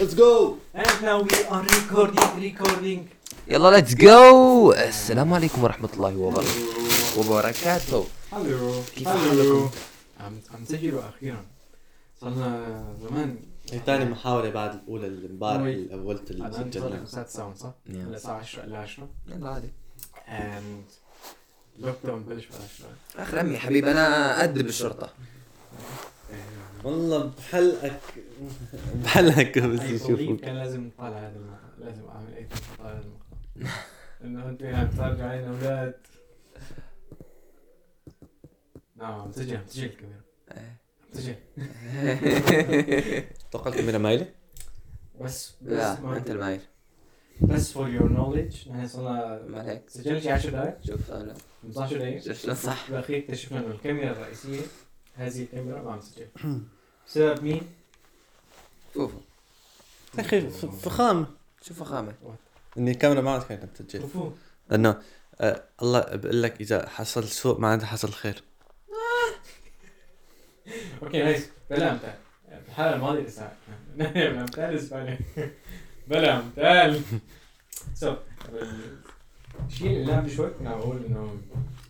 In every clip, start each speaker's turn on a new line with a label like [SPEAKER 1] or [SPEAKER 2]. [SPEAKER 1] Let's go
[SPEAKER 2] And now we are recording recording
[SPEAKER 3] يلا ليتس جو السلام عليكم ورحمة الله وبركاته وبركاته
[SPEAKER 2] الو
[SPEAKER 3] كيف
[SPEAKER 2] الو عم عم سجلوا اخيرا صرنا زمان
[SPEAKER 1] هي تاني محاولة بعد الأولى اللي امبارح
[SPEAKER 2] أوي.
[SPEAKER 1] اللي أولت اللي
[SPEAKER 2] الان صار
[SPEAKER 1] سجلناها
[SPEAKER 2] ساعة ساوند صح؟
[SPEAKER 3] Yeah.
[SPEAKER 2] هلا الساعة 10 إلى 10
[SPEAKER 3] يلا عادي
[SPEAKER 2] and لوك داون بلش ب 10
[SPEAKER 3] اخ رمي حبيبي انا قد بالشرطة
[SPEAKER 1] والله بحلقك بحلقك بس
[SPEAKER 2] اي بليف
[SPEAKER 1] يشوفوك
[SPEAKER 2] كان لازم نطلع هذا المقطع لازم اعمل اي طلع هذا المقطع انه انتوا عم تتفرجوا علينا اولاد نعم عم تسجل عم تسجل الكاميرا
[SPEAKER 3] إيه،
[SPEAKER 2] عم تسجل
[SPEAKER 1] توقع الكاميرا مايلة؟
[SPEAKER 2] بس بس
[SPEAKER 3] لا
[SPEAKER 2] ما-
[SPEAKER 3] انت الماير
[SPEAKER 2] بس فور يور نولج نحن صرنا
[SPEAKER 3] ما عليك
[SPEAKER 2] سجلنا شي 10 دقائق
[SPEAKER 3] شوف انا
[SPEAKER 2] 15 دقيقة
[SPEAKER 3] شوف شلون صح
[SPEAKER 2] بالاخير اكتشفنا انه الكاميرا الرئيسية هذه الكاميرا ما عم تسجل بسبب مين؟
[SPEAKER 3] شوفوا
[SPEAKER 1] يا أخي ف- فخام
[SPEAKER 3] شوف فخامة
[SPEAKER 1] إني الكاميرا ما عاد كانت عم تسجل
[SPEAKER 2] كفو
[SPEAKER 1] لأنه آه، الله بقول لك إذا حصل سوء ما عاد حصل خير
[SPEAKER 2] اوكي نايس بلا امثال الحلقه الماضيه لسه بلا امثال اسبانيا بلا امثال سو الشيء اللي لعبت شوي كنا بقول انه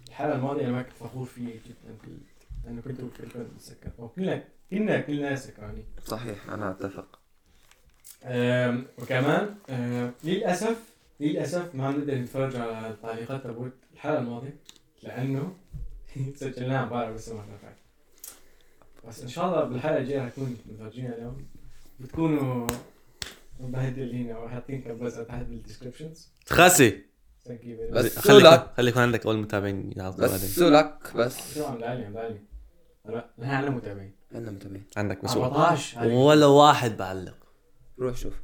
[SPEAKER 2] الحلقه الماضيه انا ما كنت فخور فيه جدا بال- لانه كنت كلكم سكر او كلنا كلنا كلنا سكرانين
[SPEAKER 3] صحيح انا اتفق
[SPEAKER 2] أم، وكمان أم، للاسف للاسف ما عم نقدر نتفرج على تعليقات تبوت الحلقه الماضيه لانه سجلناها امبارح بس ما نفعت بس ان شاء الله بالحلقه الجايه حكون متفرجين اليوم بتكونوا مبهدلين او حاطين كبسه تحت بالديسكربشنز
[SPEAKER 1] خاسي
[SPEAKER 2] Thank you very much.
[SPEAKER 3] بس
[SPEAKER 1] خليك
[SPEAKER 3] سولك.
[SPEAKER 1] خليك يكون عندك أول متابعين يعرفوا بعدين
[SPEAKER 3] بس لك بس
[SPEAKER 2] شو عم دعلي عم دعلي هلا نحن عنا متابعين
[SPEAKER 3] عندنا متابعين
[SPEAKER 1] عندك بس واحد.
[SPEAKER 2] 14 هاي.
[SPEAKER 1] ولا واحد بعلق
[SPEAKER 3] روح شوف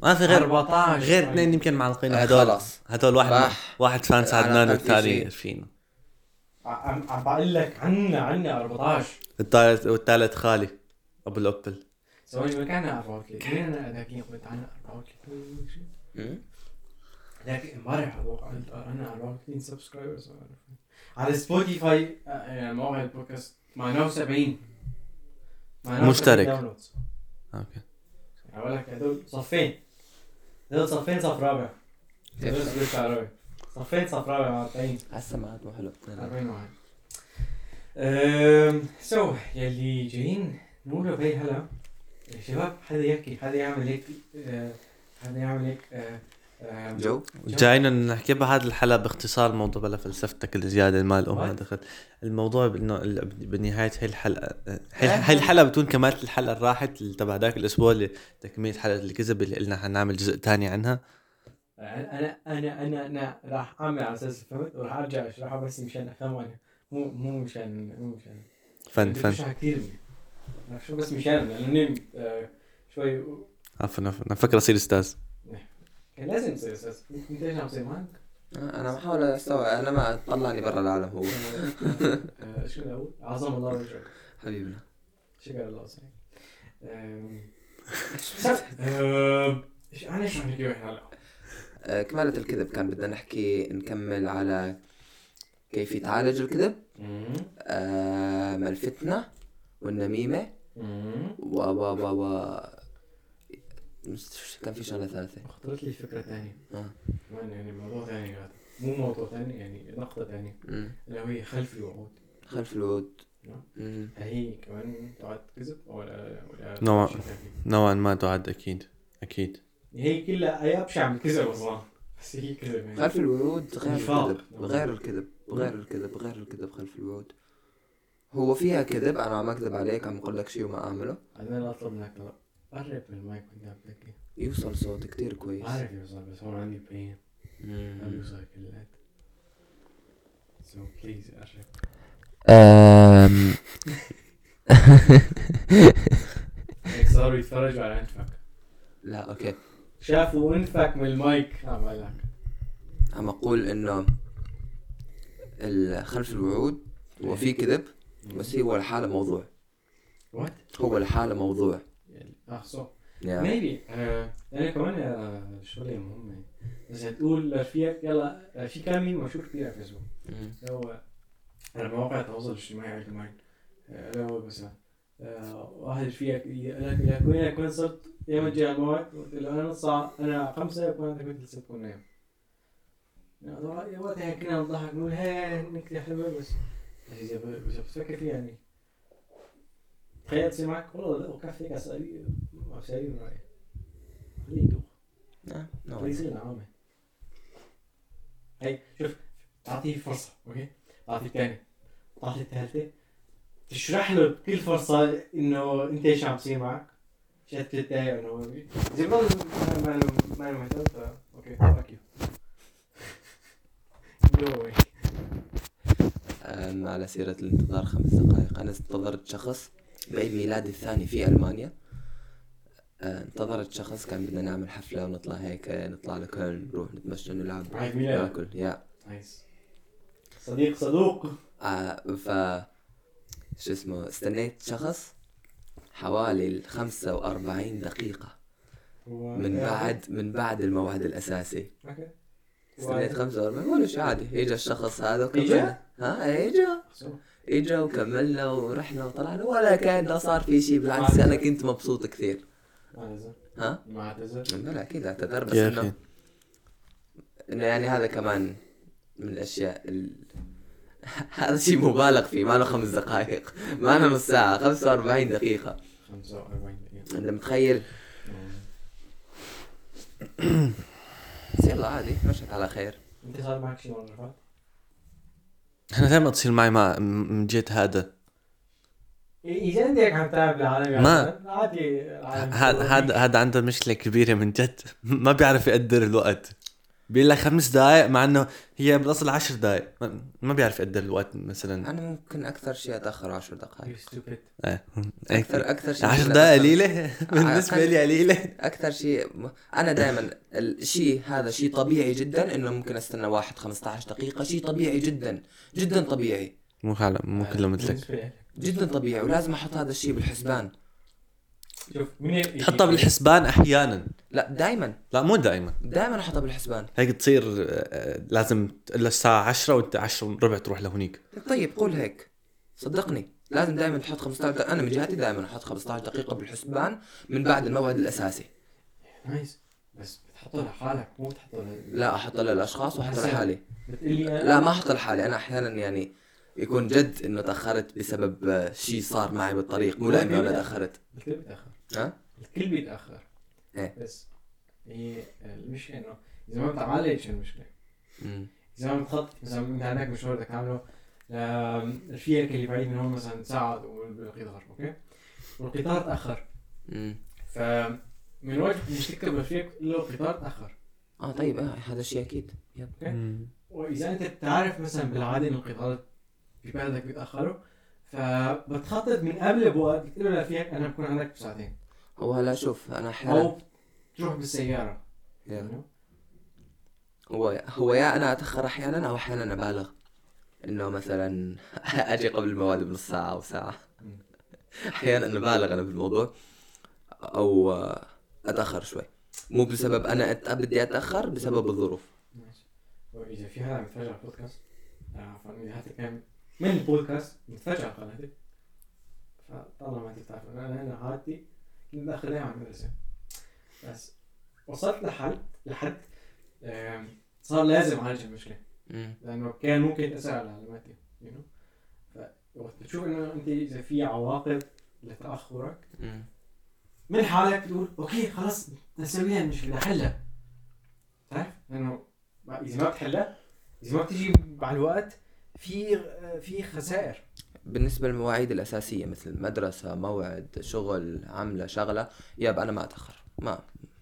[SPEAKER 1] ما في غير
[SPEAKER 2] 14
[SPEAKER 1] غير اثنين يمكن معلقين
[SPEAKER 3] آه،
[SPEAKER 1] هدول
[SPEAKER 3] خلاص.
[SPEAKER 1] هدول واحد
[SPEAKER 3] صح.
[SPEAKER 1] واحد فانس عدنان
[SPEAKER 3] أنا في
[SPEAKER 1] والثاني
[SPEAKER 3] شيء.
[SPEAKER 1] فينا
[SPEAKER 2] عم عم بقول لك عنا عنا 14
[SPEAKER 1] الثالث والثالث خالي ابو الابل
[SPEAKER 2] سوري ما كان 34 كان ذاك قلت انا 34
[SPEAKER 3] أمم.
[SPEAKER 2] ذاك امبارح اتوقع قلت انا 34 سبسكرايبرز على سبوتيفاي موقع البودكاست معناه 70 معناه 70
[SPEAKER 1] مشترك.
[SPEAKER 2] downloads.
[SPEAKER 1] اوكي
[SPEAKER 2] اقول لك هدول صفين هدول صفين صف رابع هدول
[SPEAKER 3] كيف؟
[SPEAKER 2] صف رابع صفين صف رابع 40
[SPEAKER 3] هسه ما عاد مو حلو
[SPEAKER 2] 40 واحد أم، سو يلي جايين نقوله بهي هلا يا شباب حدا يحكي حدا يعمل هيك آه، حدا يعمل هيك آه، آه،
[SPEAKER 3] جو
[SPEAKER 1] جاينا نحكي بهذا الحلقه باختصار موضوع بلا فلسفتك الزياده ما الام هذا دخل الموضوع بانه ال- بنهايه هي الحلقه هي هي الحلقه بتكون كمالة الحلقه اللي راحت اللي تبع ذاك الاسبوع لتكمله حلقه الكذب اللي قلنا حنعمل جزء ثاني عنها
[SPEAKER 2] انا انا انا انا راح اعمل على اساس فهمت وراح ارجع اشرحها بس مشان افهم انا مو مو مشان مو مشان
[SPEAKER 1] فن فن
[SPEAKER 2] بشرحها كثير منيح. راح شو بس مشان لاني آه، شوي
[SPEAKER 1] عفوا عفوا انا فكر اصير استاذ
[SPEAKER 2] كان لازم يصير اساس انت ايش عم تصير معك؟
[SPEAKER 3] آه، انا بحاول استوعب انا ما طلعني برا العالم هو
[SPEAKER 2] آه، شو بدي اقول؟ عظم الله وجهك
[SPEAKER 3] حبيبنا
[SPEAKER 2] شكرا الله وسعيك أم، أم، إيش- انا ايش رح نحكي بهي الحلقه؟
[SPEAKER 3] آه، كمالة الكذب كان بدنا نحكي نكمل على كيف يتعالج الكذب آم، الفتنة آه، والنميمة و و و و كان في شغلة ثالثة
[SPEAKER 2] خطرت لي فكره ثانيه
[SPEAKER 3] آه.
[SPEAKER 2] كمان يعني موضوع ثاني هذا مو موضوع ثاني يعني نقطه ثانية
[SPEAKER 3] أمم.
[SPEAKER 2] اللي هي خلف الوعود
[SPEAKER 3] خلف الود
[SPEAKER 2] نعم.
[SPEAKER 3] أمم.
[SPEAKER 2] هل هي كمان تعد كذب ولا ولا
[SPEAKER 1] نوعاً.
[SPEAKER 2] شي تاني؟
[SPEAKER 1] نوعا ما تعد اكيد اكيد
[SPEAKER 2] هي كلها هي ابشع من كذب اصلا بس هي كذب يعني
[SPEAKER 3] خلف الورود غير
[SPEAKER 2] نفاق.
[SPEAKER 3] الكذب غير الكذب غير الكذب غير الكذب خلف الورود هو فيها كذب انا عم اكذب عليك عم اقول لك شيء وما اعمله
[SPEAKER 2] انا اطلب منك هلا قرب من المايك قدام ذكي
[SPEAKER 3] يوصل صوت كتير كويس
[SPEAKER 2] عارف يوصل بس هون عندي بين ما
[SPEAKER 3] أمم.
[SPEAKER 2] بيوصل كليات سو بليز قرب
[SPEAKER 3] أم...
[SPEAKER 2] هيك إيه، صاروا يتفرجوا على انفك
[SPEAKER 3] لا اوكي
[SPEAKER 2] شافوا انفك من المايك عم بقول لك
[SPEAKER 3] عم اقول انه ال- خلف الوعود هو في كذب بس هي هو لحاله موضوع
[SPEAKER 2] وات
[SPEAKER 3] هو لحاله موضوع
[SPEAKER 2] اه سو
[SPEAKER 3] يعني
[SPEAKER 2] ميبي انا كمان آه، شغلي مهمه اذا تقول لرفيقك يلا آه، في كلام مشهور كثير على فيسبوك اللي هو على مواقع التواصل الاجتماعي عموما آه، اللي هو مثلا آه، واحد فيك يكون يكون صرت يوم تجي الموت قلت له انا نص ساعة- انا خمسة يكون انت كنت لسه تكون نايم يعني والله- يا وقتها كنا نضحك نقول هي نكتة حلوة بس بس إذا ب- بس بتفكر فيها يعني تخيل تصير معك والله لو كان فيك عسكرية عسكرية رأيي خليه يدوخ
[SPEAKER 3] نعم نعم.
[SPEAKER 2] رئيس العامة هي طيب. شوف تعطيه فرصة اوكي تعطيه الثانية تعطيه الثالثة تشرح له بكل فرصة انه انت ايش عم تصير معك شفت الداية انه زي ما ما أنا- ما أنا مهتم ف- اوكي فاك يو جو أواي.
[SPEAKER 3] أم، على سيرة الانتظار خمس دقائق أنا انتظرت شخص بعيد ميلادي الثاني في ألمانيا أه، انتظرت شخص كان بدنا نعمل حفلة ونطلع هيك أه، نطلع لكولن نروح نتمشى نلعب
[SPEAKER 2] عيد ميلاد.
[SPEAKER 3] ناكل يا
[SPEAKER 2] نايس صديق صدوق
[SPEAKER 3] أه، ف شو اسمه استنيت شخص حوالي الخمسة وأربعين دقيقة
[SPEAKER 2] و-
[SPEAKER 3] من بعد من بعد الموعد الأساسي
[SPEAKER 2] اوكي
[SPEAKER 3] استنيت خمسة وأربعين ولا شيء عادي إجا الشخص هذا
[SPEAKER 2] إجا؟
[SPEAKER 3] وكملنا ها إجا
[SPEAKER 2] خسوا.
[SPEAKER 3] اجا وكملنا ورحنا وطلعنا ولا كان لا صار في شيء بالعكس انا كنت مبسوط كثير
[SPEAKER 2] ما اعتذر
[SPEAKER 3] ها
[SPEAKER 2] ما اعتذر
[SPEAKER 3] بلا اكيد اعتذر بس
[SPEAKER 1] يا اخي
[SPEAKER 3] انه انه يعني هذا كمان من الاشياء ال... هذا شيء مبالغ فيه ما له خمس دقائق ما له نص ساعه 45 دقيقه
[SPEAKER 2] 45 دقيقة
[SPEAKER 3] انت متخيل بس يلا عادي مشت على خير
[SPEAKER 2] انت صار معك شيء مرة فات؟
[SPEAKER 1] انا دائما تصير معي مع من جهه هذا
[SPEAKER 2] اذا انت هيك عم تعب العالم
[SPEAKER 1] ما.
[SPEAKER 2] يعني عادي العالم
[SPEAKER 1] هذا هذا هذا عنده مشكله كبيره من جد ما بيعرف يقدر الوقت بيقول لك خمس دقائق مع انه هي بالاصل عشر دقائق ما- ما بيعرف يقدر الوقت مثلا
[SPEAKER 3] انا ممكن اكثر شيء اتاخر 10 دقائق
[SPEAKER 2] ستوبيد
[SPEAKER 1] إيه.
[SPEAKER 3] اكثر اكثر شيء
[SPEAKER 1] عشر
[SPEAKER 3] ممكن
[SPEAKER 1] دقائق
[SPEAKER 3] أتأخر.
[SPEAKER 1] قليله بالنسبه لي قليله
[SPEAKER 3] اكثر شيء انا دائما الشيء هذا شيء طبيعي جدا انه ممكن استنى واحد 15 دقيقه شيء طبيعي جدا جدا طبيعي
[SPEAKER 1] مو فعلا مو كله مثلك
[SPEAKER 3] جدا طبيعي ولازم احط هذا الشيء بالحسبان
[SPEAKER 2] شوف مين ال-
[SPEAKER 1] تحطها بالحسبان احيانا
[SPEAKER 3] لا دائما
[SPEAKER 1] لا مو دائما
[SPEAKER 3] دائما احطها بالحسبان
[SPEAKER 1] هيك تصير آه، لازم تقول له الساعه 10 وانت 10 وربع تروح لهونيك
[SPEAKER 3] طيب قول هيك صدقني لازم دائما تحط 15 دقيقة. انا من جهتي دائما احط 15 دقيقه بالحسبان من بعد الموعد الاساسي
[SPEAKER 2] نايس بس بتحطه لحالك مو بتحطه ل-
[SPEAKER 3] لا احط للاشخاص واحط لحالي
[SPEAKER 2] بتقلي أنا-
[SPEAKER 3] لا ما احط لحالي انا احيانا يعني يكون جد انه تاخرت بسبب آه، شيء صار معي بالطريق مو لانه انا تاخرت
[SPEAKER 2] الكل بيتاخر
[SPEAKER 3] ها؟
[SPEAKER 2] الكل بيتاخر
[SPEAKER 3] إيه.
[SPEAKER 2] بس هي المشكله انه اذا ما بتعالج المشكله اذا ما بتخطط مثلا انت عندك مشوار بدك تعمله الفيك اللي بعيد من هون مثلا ساعه بالقطار اوكي والقطار تاخر
[SPEAKER 3] امم
[SPEAKER 2] ف من وجه مش تكتب الفيك الا القطار تاخر
[SPEAKER 3] اه طيب آه هذا الشيء اكيد يب
[SPEAKER 2] واذا انت بتعرف مثلا بالعاده ان القطارات في بلدك بيتاخروا فبتخطط من قبل بوقت بتقول له لا فيك انا بكون عندك بساعتين
[SPEAKER 3] هو هلا شوف انا احيانا
[SPEAKER 2] او تروح بالسياره
[SPEAKER 3] يب. هو هو يا انا اتاخر احيانا او احيانا ابالغ انه مثلا اجي قبل الموعد بنص ساعه او ساعه
[SPEAKER 2] مم.
[SPEAKER 3] احيانا ابالغ انا بالموضوع او آه، اتاخر شوي مو بسبب انا أت- بدي اتاخر بسبب الظروف
[SPEAKER 2] ماشي واذا في حدا عم يتفرج على البودكاست آه، فاذا حتى كان من البودكاست متفرج على قناتي فطلع ما انت بتعرف انا انا حالتي كنت اخذها على المدرسه بس وصلت لحد لحد آم، صار لازم اعالج المشكله لانه كان ممكن تاثر على علاماتي يو نو فوقت بتشوف انه انت اذا في عواقب لتاخرك من حالك تقول اوكي خلاص نسويها المشكله نحلها تعرف لانه ما- اذا ما بتحلها اذا ما بتجي مع الوقت في في خسائر
[SPEAKER 3] بالنسبه للمواعيد الاساسيه مثل مدرسه موعد شغل عمله شغله ياب انا ما اتاخر ما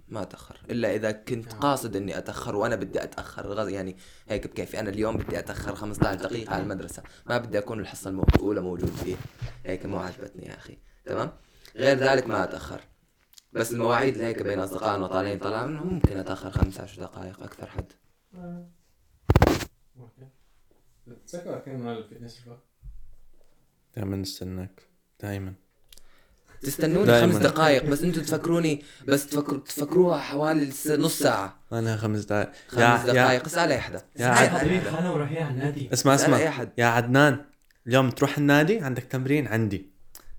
[SPEAKER 3] ما اتاخر الا اذا كنت
[SPEAKER 2] نعم.
[SPEAKER 3] قاصد اني اتاخر وانا بدي اتاخر غز- يعني هيك بكيفي انا اليوم بدي اتاخر 15 دقيقه على المدرسه ما بدي اكون الحصه المو- الاولى موجود فيها هيك مو عجبتني يا اخي تمام غير ذلك ما اتاخر بس المواعيد اللي هيك بين اصدقائنا طالعين طلع منه ممكن اتاخر 15 دقائق اكثر حد
[SPEAKER 2] تذكر كان مال الفتنس
[SPEAKER 1] دائما نستناك دائما
[SPEAKER 3] تستنوني
[SPEAKER 1] دايماً.
[SPEAKER 3] خمس دقائق بس انتم تفكروني بس تفكر تفكروها حوالي س- نص ساعه
[SPEAKER 1] انا خمس دقائق
[SPEAKER 3] خمس
[SPEAKER 1] يا-
[SPEAKER 3] دقائق اسال اي حدا
[SPEAKER 1] يا
[SPEAKER 3] اسأل
[SPEAKER 1] عاد-
[SPEAKER 3] أي حدا.
[SPEAKER 2] انا ورايحين على النادي
[SPEAKER 1] اسمع
[SPEAKER 3] اسال اي
[SPEAKER 1] اسمع
[SPEAKER 3] احد
[SPEAKER 1] يا عدنان اليوم تروح النادي عندك تمرين عندي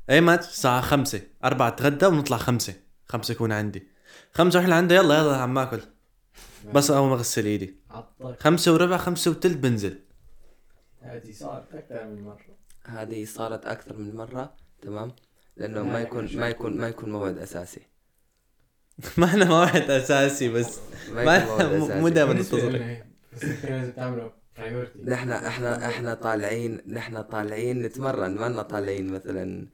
[SPEAKER 1] اي مات الساعه 5 4 اتغدى ونطلع 5 5 يكون عندي 5 واحنا عنده يلا يلا عم اكل بس اول ما اغسل ايدي
[SPEAKER 2] عطك
[SPEAKER 1] 5 وربع 5 وثلث بنزل
[SPEAKER 2] هذه صارت اكثر من مره
[SPEAKER 3] هذه صارت اكثر من مره تمام لانه ما يكون ما يكون ما يكون موعد اساسي
[SPEAKER 1] ما احنا موعد اساسي بس ما-
[SPEAKER 3] ما يكون موعد
[SPEAKER 1] مو-
[SPEAKER 3] اساسي
[SPEAKER 1] مو دايماً.
[SPEAKER 2] بالنسبة
[SPEAKER 1] منتظرك.
[SPEAKER 2] لنا هي. بس إحنا لازم تعمله برايورتي
[SPEAKER 3] نحن احنا احنا طالعين نحن طالعين نتمرن ما لنا طالعين مثلا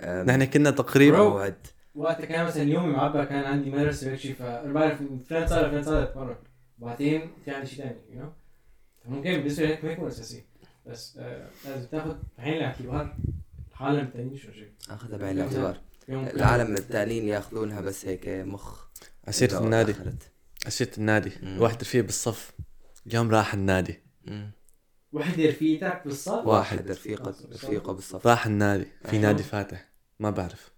[SPEAKER 3] آم،
[SPEAKER 1] نحن كنا تقريبا
[SPEAKER 3] موعد
[SPEAKER 2] وقتها كان مثلا يومي مع ابا كان عندي مدرسه وهيك شيء فبعرف فلان صار فلان صار اتمرن وبعدين في عندي شيء ثاني يو نو ممكن بالنسبه لك ما يكون اساسي بس آه لازم تاخذ بعين الاعتبار العالم الثانيين شو شيء
[SPEAKER 3] اخذها بعين الاعتبار
[SPEAKER 2] يوم
[SPEAKER 3] العالم التانيين ياخذونها بس هيك مخ
[SPEAKER 1] عسيرة
[SPEAKER 3] إذا
[SPEAKER 1] النادي
[SPEAKER 3] دخلت.
[SPEAKER 1] عسيرة النادي
[SPEAKER 3] مم.
[SPEAKER 1] الواحد رفيق بالصف اليوم راح النادي
[SPEAKER 3] مم.
[SPEAKER 2] وحده رفيقتك بالصف
[SPEAKER 3] واحد رفيقه رفيقه بالصف
[SPEAKER 1] راح النادي في
[SPEAKER 3] أيوة.
[SPEAKER 1] نادي فاتح ما بعرف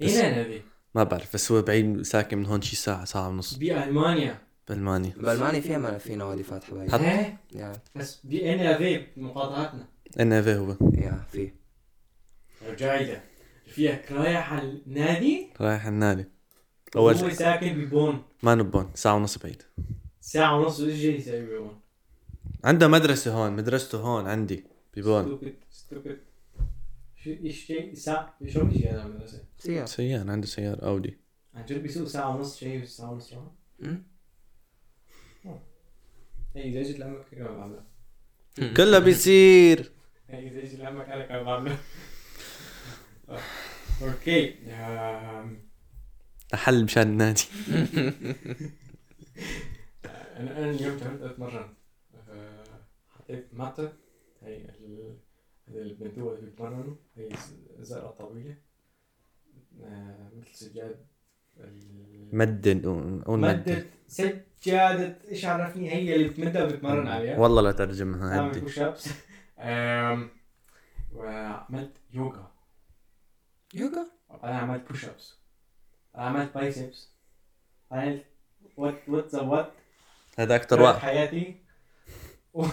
[SPEAKER 2] هنا هذه
[SPEAKER 1] ما بعرف بس هو بعيد ساكن من هون شي ساعة ساعة ونص
[SPEAKER 2] بالمانيا
[SPEAKER 1] بالمانيا
[SPEAKER 3] بالمانيا في ما في نوادي فاتحه بعيد
[SPEAKER 2] ايه
[SPEAKER 3] يا
[SPEAKER 2] بس بأنا ذي مقاطعتنا
[SPEAKER 1] ان اف هو
[SPEAKER 3] يا في
[SPEAKER 2] رجعيدة رفيقك رايح على النادي
[SPEAKER 1] رايح النادي
[SPEAKER 2] هو
[SPEAKER 1] اول شيء
[SPEAKER 2] ساكن ببون
[SPEAKER 1] ما نبون ساعة ونص بعيد
[SPEAKER 2] ساعة ونص وش جاي يسوي ببون؟
[SPEAKER 1] عنده مدرسة هون مدرسته هون عندي ببون
[SPEAKER 2] ستوبد ستوبد شو ايش جاي ساعة شو مش جاي على المدرسة؟
[SPEAKER 3] سيارة
[SPEAKER 1] سيارة عنده سيارة اودي
[SPEAKER 2] عن جد بيسوق ساعة ونص شيء ساعة ونص راحة؟
[SPEAKER 3] مم.
[SPEAKER 2] هي إذا اجت لعمك أنا بعملها
[SPEAKER 1] كله بيصير
[SPEAKER 2] هي إذا اجت لعمك أنا كمان بعملها آه، اوكي آم،
[SPEAKER 1] حل مشان النادي
[SPEAKER 2] انا انا اليوم جربت اتمرن آه، حطيت ماتا هي ال- هذه البندوه اللي بتمرنوا هي ز- زرقاء طويله آه، مثل سجاد ال-
[SPEAKER 1] مدن و- قول
[SPEAKER 2] مدة سجادة ايش عرفني هي اللي بتمدها وبتمرن عليها آه،
[SPEAKER 1] والله لا ترجمها
[SPEAKER 2] اعمل
[SPEAKER 1] هدي
[SPEAKER 2] بوش ابس آم، وعملت يوغا
[SPEAKER 3] يوغا
[SPEAKER 2] انا عملت بوش ابس عملت بايسبس عملت وات وات ذا وات
[SPEAKER 1] هذا اكثر واحد
[SPEAKER 2] حياتي و-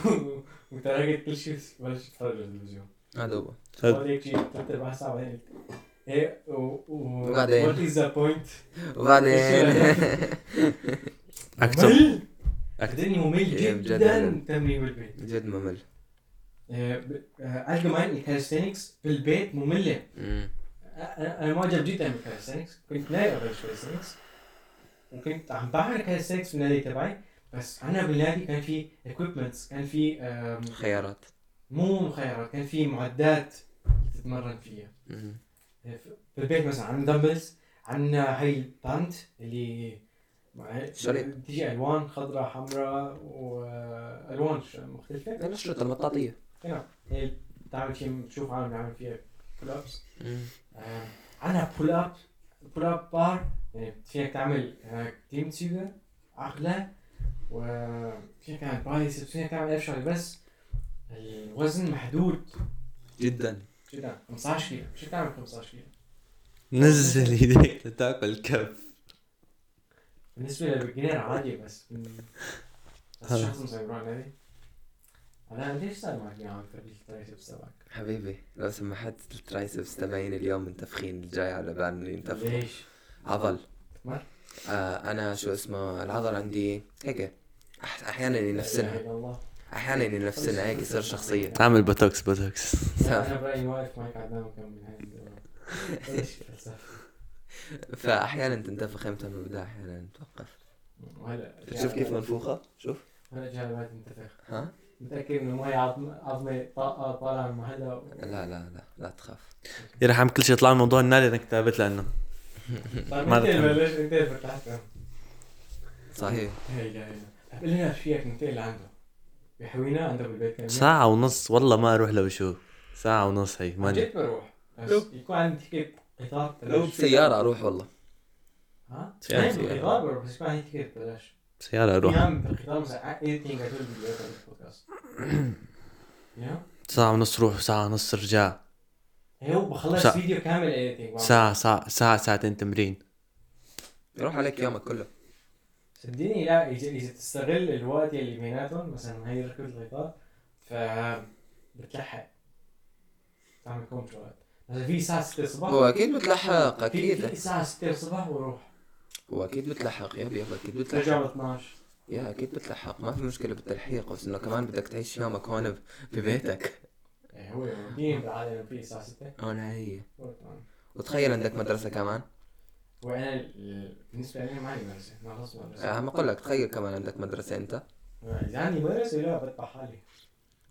[SPEAKER 2] وتركت كل شيء بلشت اتفرج على التلفزيون
[SPEAKER 3] هذا هو
[SPEAKER 2] فاضي هيك شيء ثلاث اربع ساعه بعدين ايه و و
[SPEAKER 3] وبعدين؟
[SPEAKER 2] وات از ذا بوينت
[SPEAKER 3] وبعدين
[SPEAKER 1] اكثر اكثر
[SPEAKER 2] الدنيا ممل
[SPEAKER 3] إيه، بجد
[SPEAKER 2] جدا
[SPEAKER 3] ممل.
[SPEAKER 2] التمرين بالبيت
[SPEAKER 3] جد ممل
[SPEAKER 2] إيه، ب- آه، الجماين الكاليستينكس بالبيت ممله
[SPEAKER 3] مم.
[SPEAKER 2] أ- انا آه، أنا معجب جدا بالكاليستينكس كنت نايم قبل الكاليستينكس وكنت عم بعمل كاليستينكس بالنادي تبعي بس انا بالنادي كان في اكويبمنتس كان في آم،
[SPEAKER 3] خيارات
[SPEAKER 2] مو مخيرات كان في معدات تتمرن فيها
[SPEAKER 3] مم.
[SPEAKER 2] بالبيت مثلا عندنا دمبلز عندنا هاي البانت اللي
[SPEAKER 3] شريط.
[SPEAKER 2] بتيجي الوان خضراء حمراء والوان ش- مختلفه
[SPEAKER 3] الاشرطه المطاطيه
[SPEAKER 2] هي بتعمل شيء بتشوف عالم بيعمل فيها بول ابس
[SPEAKER 3] مم.
[SPEAKER 2] آه، عندنا بول اب بول اب بار يعني فيك تعمل آه، كليمتسيجا عقله وفيك تعمل بايسبس فيك تعمل اي شغله بس الوزن محدود
[SPEAKER 3] جدا
[SPEAKER 2] شو ده 15 كيلو شو تعمل 15 كيلو
[SPEAKER 1] نزل ايديك لتاكل كف
[SPEAKER 2] بالنسبة للبجنير عادي بس بس
[SPEAKER 1] هذا.
[SPEAKER 2] شخص مسيبران هذه أنا ليش صار معك يا عم تبديل الترايسبس تبعك؟
[SPEAKER 3] حبيبي لو سمحت الترايسبس تبعين اليوم متفخين الجاي على بالي انتفخوا
[SPEAKER 2] ليش؟
[SPEAKER 3] عضل
[SPEAKER 2] مر؟
[SPEAKER 3] آه انا شو اسمه العضل عندي هيك أح- احيانا
[SPEAKER 2] لا إله
[SPEAKER 3] ينفسنها
[SPEAKER 2] إلا الله
[SPEAKER 3] احيانا ينفسنها هيك يصير شخصيه
[SPEAKER 1] تعمل بوتوكس بوتوكس
[SPEAKER 2] لا، أنا برأيي واقف معك عدنان وكمل هاي الدورة إيش الفلسفة؟
[SPEAKER 3] فاحيانا تنتفخ امتى ما بدها احيانا توقف
[SPEAKER 2] وهلا
[SPEAKER 3] شوف كيف منفوخه شوف
[SPEAKER 2] هلا جاي بعد انتفخ
[SPEAKER 3] ها
[SPEAKER 2] متأكد إنه مي عظم- عظمة طاقة طالعة من محلها و-
[SPEAKER 3] لا لا لا لا تخاف
[SPEAKER 1] يرحم كل شيء طلع من موضوع النادي انا كتبت لانه
[SPEAKER 2] طيب
[SPEAKER 1] ما
[SPEAKER 2] أنت اللي
[SPEAKER 1] بتحمل.
[SPEAKER 2] بلشت أنت اللي فتحتها
[SPEAKER 3] صحيح
[SPEAKER 2] هي لا لا طيب قول لنا رفيقك ننتقل لعنده بحوينا عنده بالبيت كان
[SPEAKER 1] ساعة ونص والله ما اروح لو شو ساعة ونص هي
[SPEAKER 2] ما
[SPEAKER 1] ماني
[SPEAKER 2] جد بروح بس
[SPEAKER 3] لو-
[SPEAKER 2] يكون عندي تيكت قطار
[SPEAKER 3] لو
[SPEAKER 2] ببلاش
[SPEAKER 3] بسياره اروح والله
[SPEAKER 2] ها؟
[SPEAKER 1] سيارة.
[SPEAKER 2] عندي قطار بروح بس يكون عندي تيكت ببلاش
[SPEAKER 1] سيارة
[SPEAKER 2] في
[SPEAKER 1] اروح
[SPEAKER 2] عم بالقطار مثلا anything I told you about the podcast. يا
[SPEAKER 1] ساعة ونص روح ساعة ونص رجع
[SPEAKER 2] هو بخلص
[SPEAKER 1] ساعة.
[SPEAKER 2] فيديو كامل anything بعمل.
[SPEAKER 1] ساعة ساعة ساعة ساعتين تمرين
[SPEAKER 3] يروح عليك يومك كله
[SPEAKER 2] صدقني لا اذا اذا تستغل الوقت اللي بيناتهم مثلا هي ركوب القطار ف بتلحق تعمل كونترولات هذا في الساعه 6 الصبح
[SPEAKER 3] هو اكيد بتلحق
[SPEAKER 2] في في
[SPEAKER 3] اكيد
[SPEAKER 2] الساعه 6 الصبح واروح
[SPEAKER 3] هو اكيد بتلحق يا يابا اكيد بتلحق
[SPEAKER 2] رجع 12
[SPEAKER 3] يا اكيد بتلحق ما في مشكلة بالتلحيق بس انه كمان بدك تعيش يومك هون ب- في بيتك
[SPEAKER 2] إيه، هو مين بالعاده في الساعه 6
[SPEAKER 3] هون هي
[SPEAKER 2] ولا طبعاً.
[SPEAKER 3] وتخيل عندك مدرسة كمان
[SPEAKER 2] وانا ال- بالنسبه لي ما عندي مدرسه انا خلصت مدرسه
[SPEAKER 3] عم اقول لك تخيل كمان عندك مدرسة انت
[SPEAKER 2] اذا عندي مدرسه لا بدفع حالي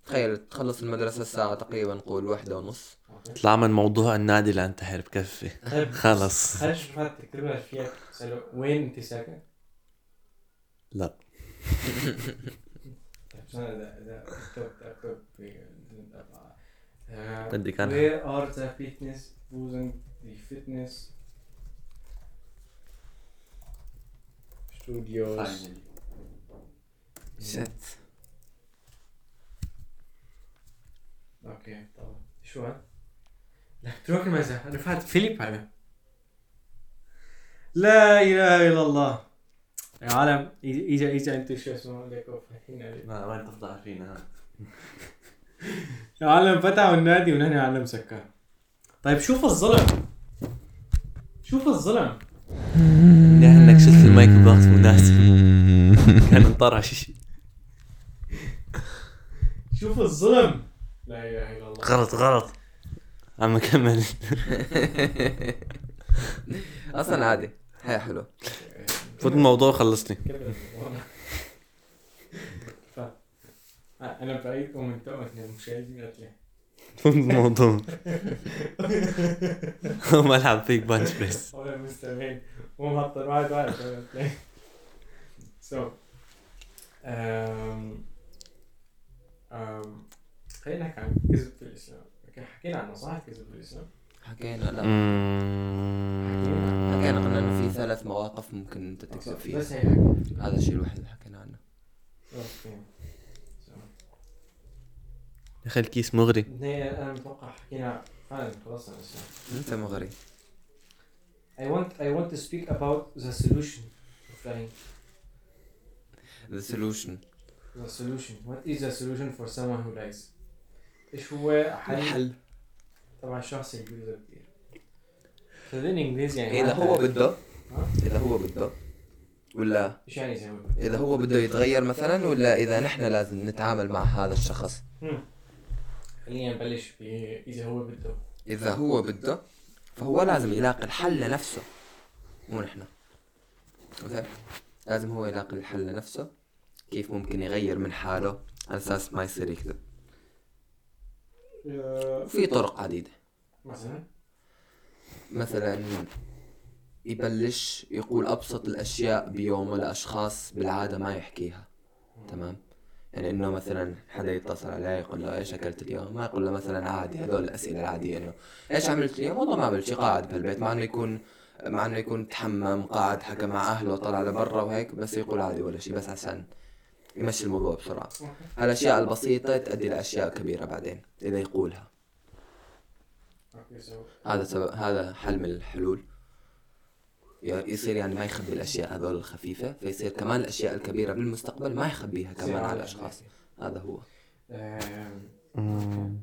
[SPEAKER 3] تخيل تخلص المدرسة الساعة تقريبا قول واحدة ونص
[SPEAKER 2] أوكي.
[SPEAKER 1] اطلع من موضوع النادي لانتحر بكفي
[SPEAKER 2] طيب،
[SPEAKER 1] خلص.
[SPEAKER 2] هل شفت تكتب لها فيها تسأله وين انت ساكن؟
[SPEAKER 1] لا
[SPEAKER 2] طيب، استنى، اذا اذا كتبت اكتب في آه،
[SPEAKER 1] بدي كان-
[SPEAKER 2] Where are the fitness losing the fitness studios
[SPEAKER 3] شت
[SPEAKER 2] اوكي طبعا شو هذا؟ لا تروح المزح انا فات فيليب هذا لا اله الا الله يا عالم اجا اجا انت شو اسمه لك فاتحين عليه.
[SPEAKER 1] ما ما تفضح فينا
[SPEAKER 2] يا عالم فتحوا النادي ونحن عالم سكر طيب شوف الظلم شوف الظلم
[SPEAKER 1] لانك شلت المايك بوقت مناسب كان انطرش
[SPEAKER 2] شوف الظلم لا اله الا الله
[SPEAKER 1] غلط غلط عم كمل
[SPEAKER 3] اصلا عادي هي حلو
[SPEAKER 1] فوت الموضوع خلصني
[SPEAKER 2] كده الموضوع. ف- انا بعيدكم انتم المشاهدين قتلي
[SPEAKER 1] فوت الموضوع ما العب فيك بانش بريس
[SPEAKER 2] هو المستمعين هو مهطل واحد واحد سو um, خلينا نحكي عن كذب في الاسلام أوكي، حكينا عن نصائح كذب في الاسلام
[SPEAKER 3] حكينا لا
[SPEAKER 1] مم.
[SPEAKER 3] حكينا قلنا انه في ثلاث مواقف ممكن انت تكذب فيها
[SPEAKER 2] بس هي حكي.
[SPEAKER 3] هذا الشيء الوحيد اللي حكينا عنه
[SPEAKER 2] أوكي. So،
[SPEAKER 1] يا اخي الكيس مغري
[SPEAKER 2] إن هي انا متوقع حكينا فعلا خلصنا الاسلام
[SPEAKER 3] انت مغري
[SPEAKER 2] I want I want to speak about the solution of lying.
[SPEAKER 3] ذا سولوشن
[SPEAKER 2] The solution. What is the solution for someone who lies? ايش هو حل طبعا الشخص اللي بيكذب كثير. فذين انجليزي يعني
[SPEAKER 3] اذا هو بده
[SPEAKER 2] ها؟
[SPEAKER 3] اذا هو بده ولا
[SPEAKER 2] ايش يعني زي ما بيقول؟
[SPEAKER 3] اذا هو بده يتغير مثلا ولا اذا نحن لازم نتعامل مع هذا الشخص
[SPEAKER 2] خلينا نبلش ب اذا هو بده
[SPEAKER 3] اذا هو بده فهو لازم يلاقي الحل لنفسه مو نحن أوكي؟ لازم هو يلاقي الحل لنفسه كيف ممكن يغير من حاله على اساس ما يصير يكذب في طرق عديده
[SPEAKER 2] مثلا
[SPEAKER 3] مثلا يبلش يقول ابسط الاشياء بيومه لاشخاص بالعاده ما يحكيها تمام يعني انه مثلا حدا يتصل عليه يقول له ايش اكلت اليوم ما يقول له مثلا عادي هذول الاسئله العاديه انه ايش عملت اليوم والله ما عملت شيء قاعد بالبيت مع انه يكون مع انه يكون تحمم قاعد حكى مع اهله طلع لبرا وهيك بس يقول عادي ولا شيء بس عشان يمشي الموضوع بسرعه هالاشياء البسيطه تؤدي لاشياء كبيره بعدين اذا يقولها
[SPEAKER 2] اوكي سو
[SPEAKER 3] هذا سبب هذا حل من الحلول ي- يصير يعني ما يخبي الاشياء هذول الخفيفه فيصير كمان الاشياء الكبيره بالمستقبل ما يخبيها كمان على الاشخاص هذا هو
[SPEAKER 2] آم،
[SPEAKER 1] مم.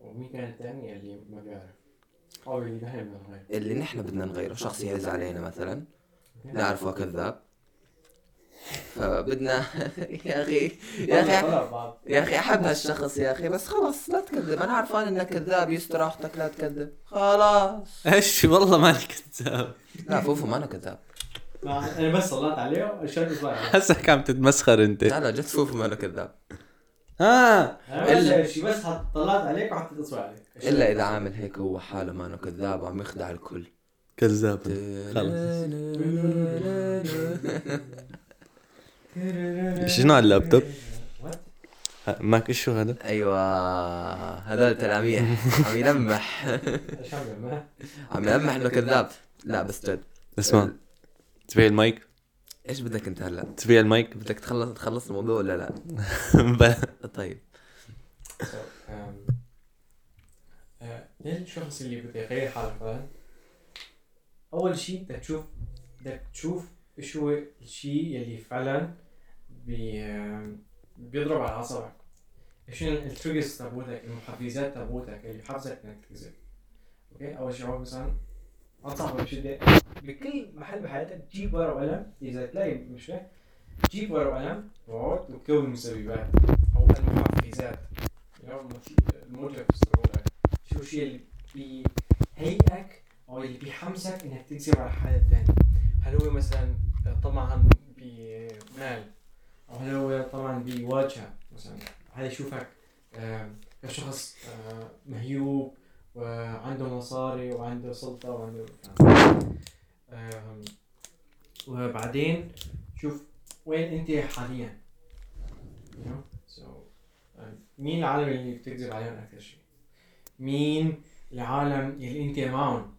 [SPEAKER 2] ومين كان الثاني اللي ما Oh, بيعرف؟ او اللي نحن بدنا نغير
[SPEAKER 3] اللي نحن بدنا نغيره شخص يعز علينا مثلا نعرفه كذاب فبدنا يا اخي يا اخي
[SPEAKER 2] طلع بعض
[SPEAKER 3] يا اخي احب هالشخص يا اخي بس خلاص لا تكذب انا عارفان انك كذاب يستر راحتك لا تكذب خلاص
[SPEAKER 1] ايش والله ماني كذاب
[SPEAKER 3] لا فوفو ما انا كذاب
[SPEAKER 2] ما- انا بس طلعت عليه وشلت صغير
[SPEAKER 1] حاسك عم تتمسخر انت
[SPEAKER 3] لا لا جد فوفو ما انا كذاب
[SPEAKER 1] اه
[SPEAKER 2] انا ما
[SPEAKER 3] إلا-
[SPEAKER 2] سويت شيء بس حط- طلعت عليك وحطيت اصبعي عليك
[SPEAKER 3] الا اذا عامل هيك هو حاله ما انه كذاب وعم يخدع الكل
[SPEAKER 1] كذاب شنو على اللابتوب؟
[SPEAKER 2] What?
[SPEAKER 1] ه- ماك شو هذا
[SPEAKER 3] ايوه هذول تلاميح عم يلمح
[SPEAKER 2] ايش عم بيعمل؟
[SPEAKER 3] عم يلمح انه كذاب لا بس جد
[SPEAKER 1] اسمع تبيع المايك
[SPEAKER 3] ايش بدك انت هلا؟
[SPEAKER 1] تبيع المايك
[SPEAKER 3] بدك تخلص تخلص الموضوع ولا لا؟
[SPEAKER 1] بلا.
[SPEAKER 3] طيب
[SPEAKER 2] So, um, آه، ليه الشخص اللي بده يغير حاله فعلا اول شيء بدك تشوف بدك تشوف ايش هو الشيء يلي فعلا بي آم، بيضرب على اعصابك ايش التريجرز تبعتك المحفزات تبعتك اللي بحفزك انك تكذب اوكي اول شيء هو مثلا انصحك بشده بكل محل بحياتك جيب ورقه وقلم اذا تلاقي مشكله جيب ورقه وقلم واقعد واكتب المسببات او المحفزات اللي هو المت- الموجب استمرارك شو الشيء اللي بيهيئك او اللي بيحمسك انك تقسم على حدا تاني هل هو مثلا طمعا بمال او هل هو طبعا بيواجهه مثلا هذا يشوفك آه، كشخص آه، مهيوب وعنده مصاري وعنده سلطه وعنده آم، وبعدين شوف وين انت حاليا you know? so, آه، مين العالم اللي بتكذب عليهم اكثر شيء مين العالم اللي انت معهم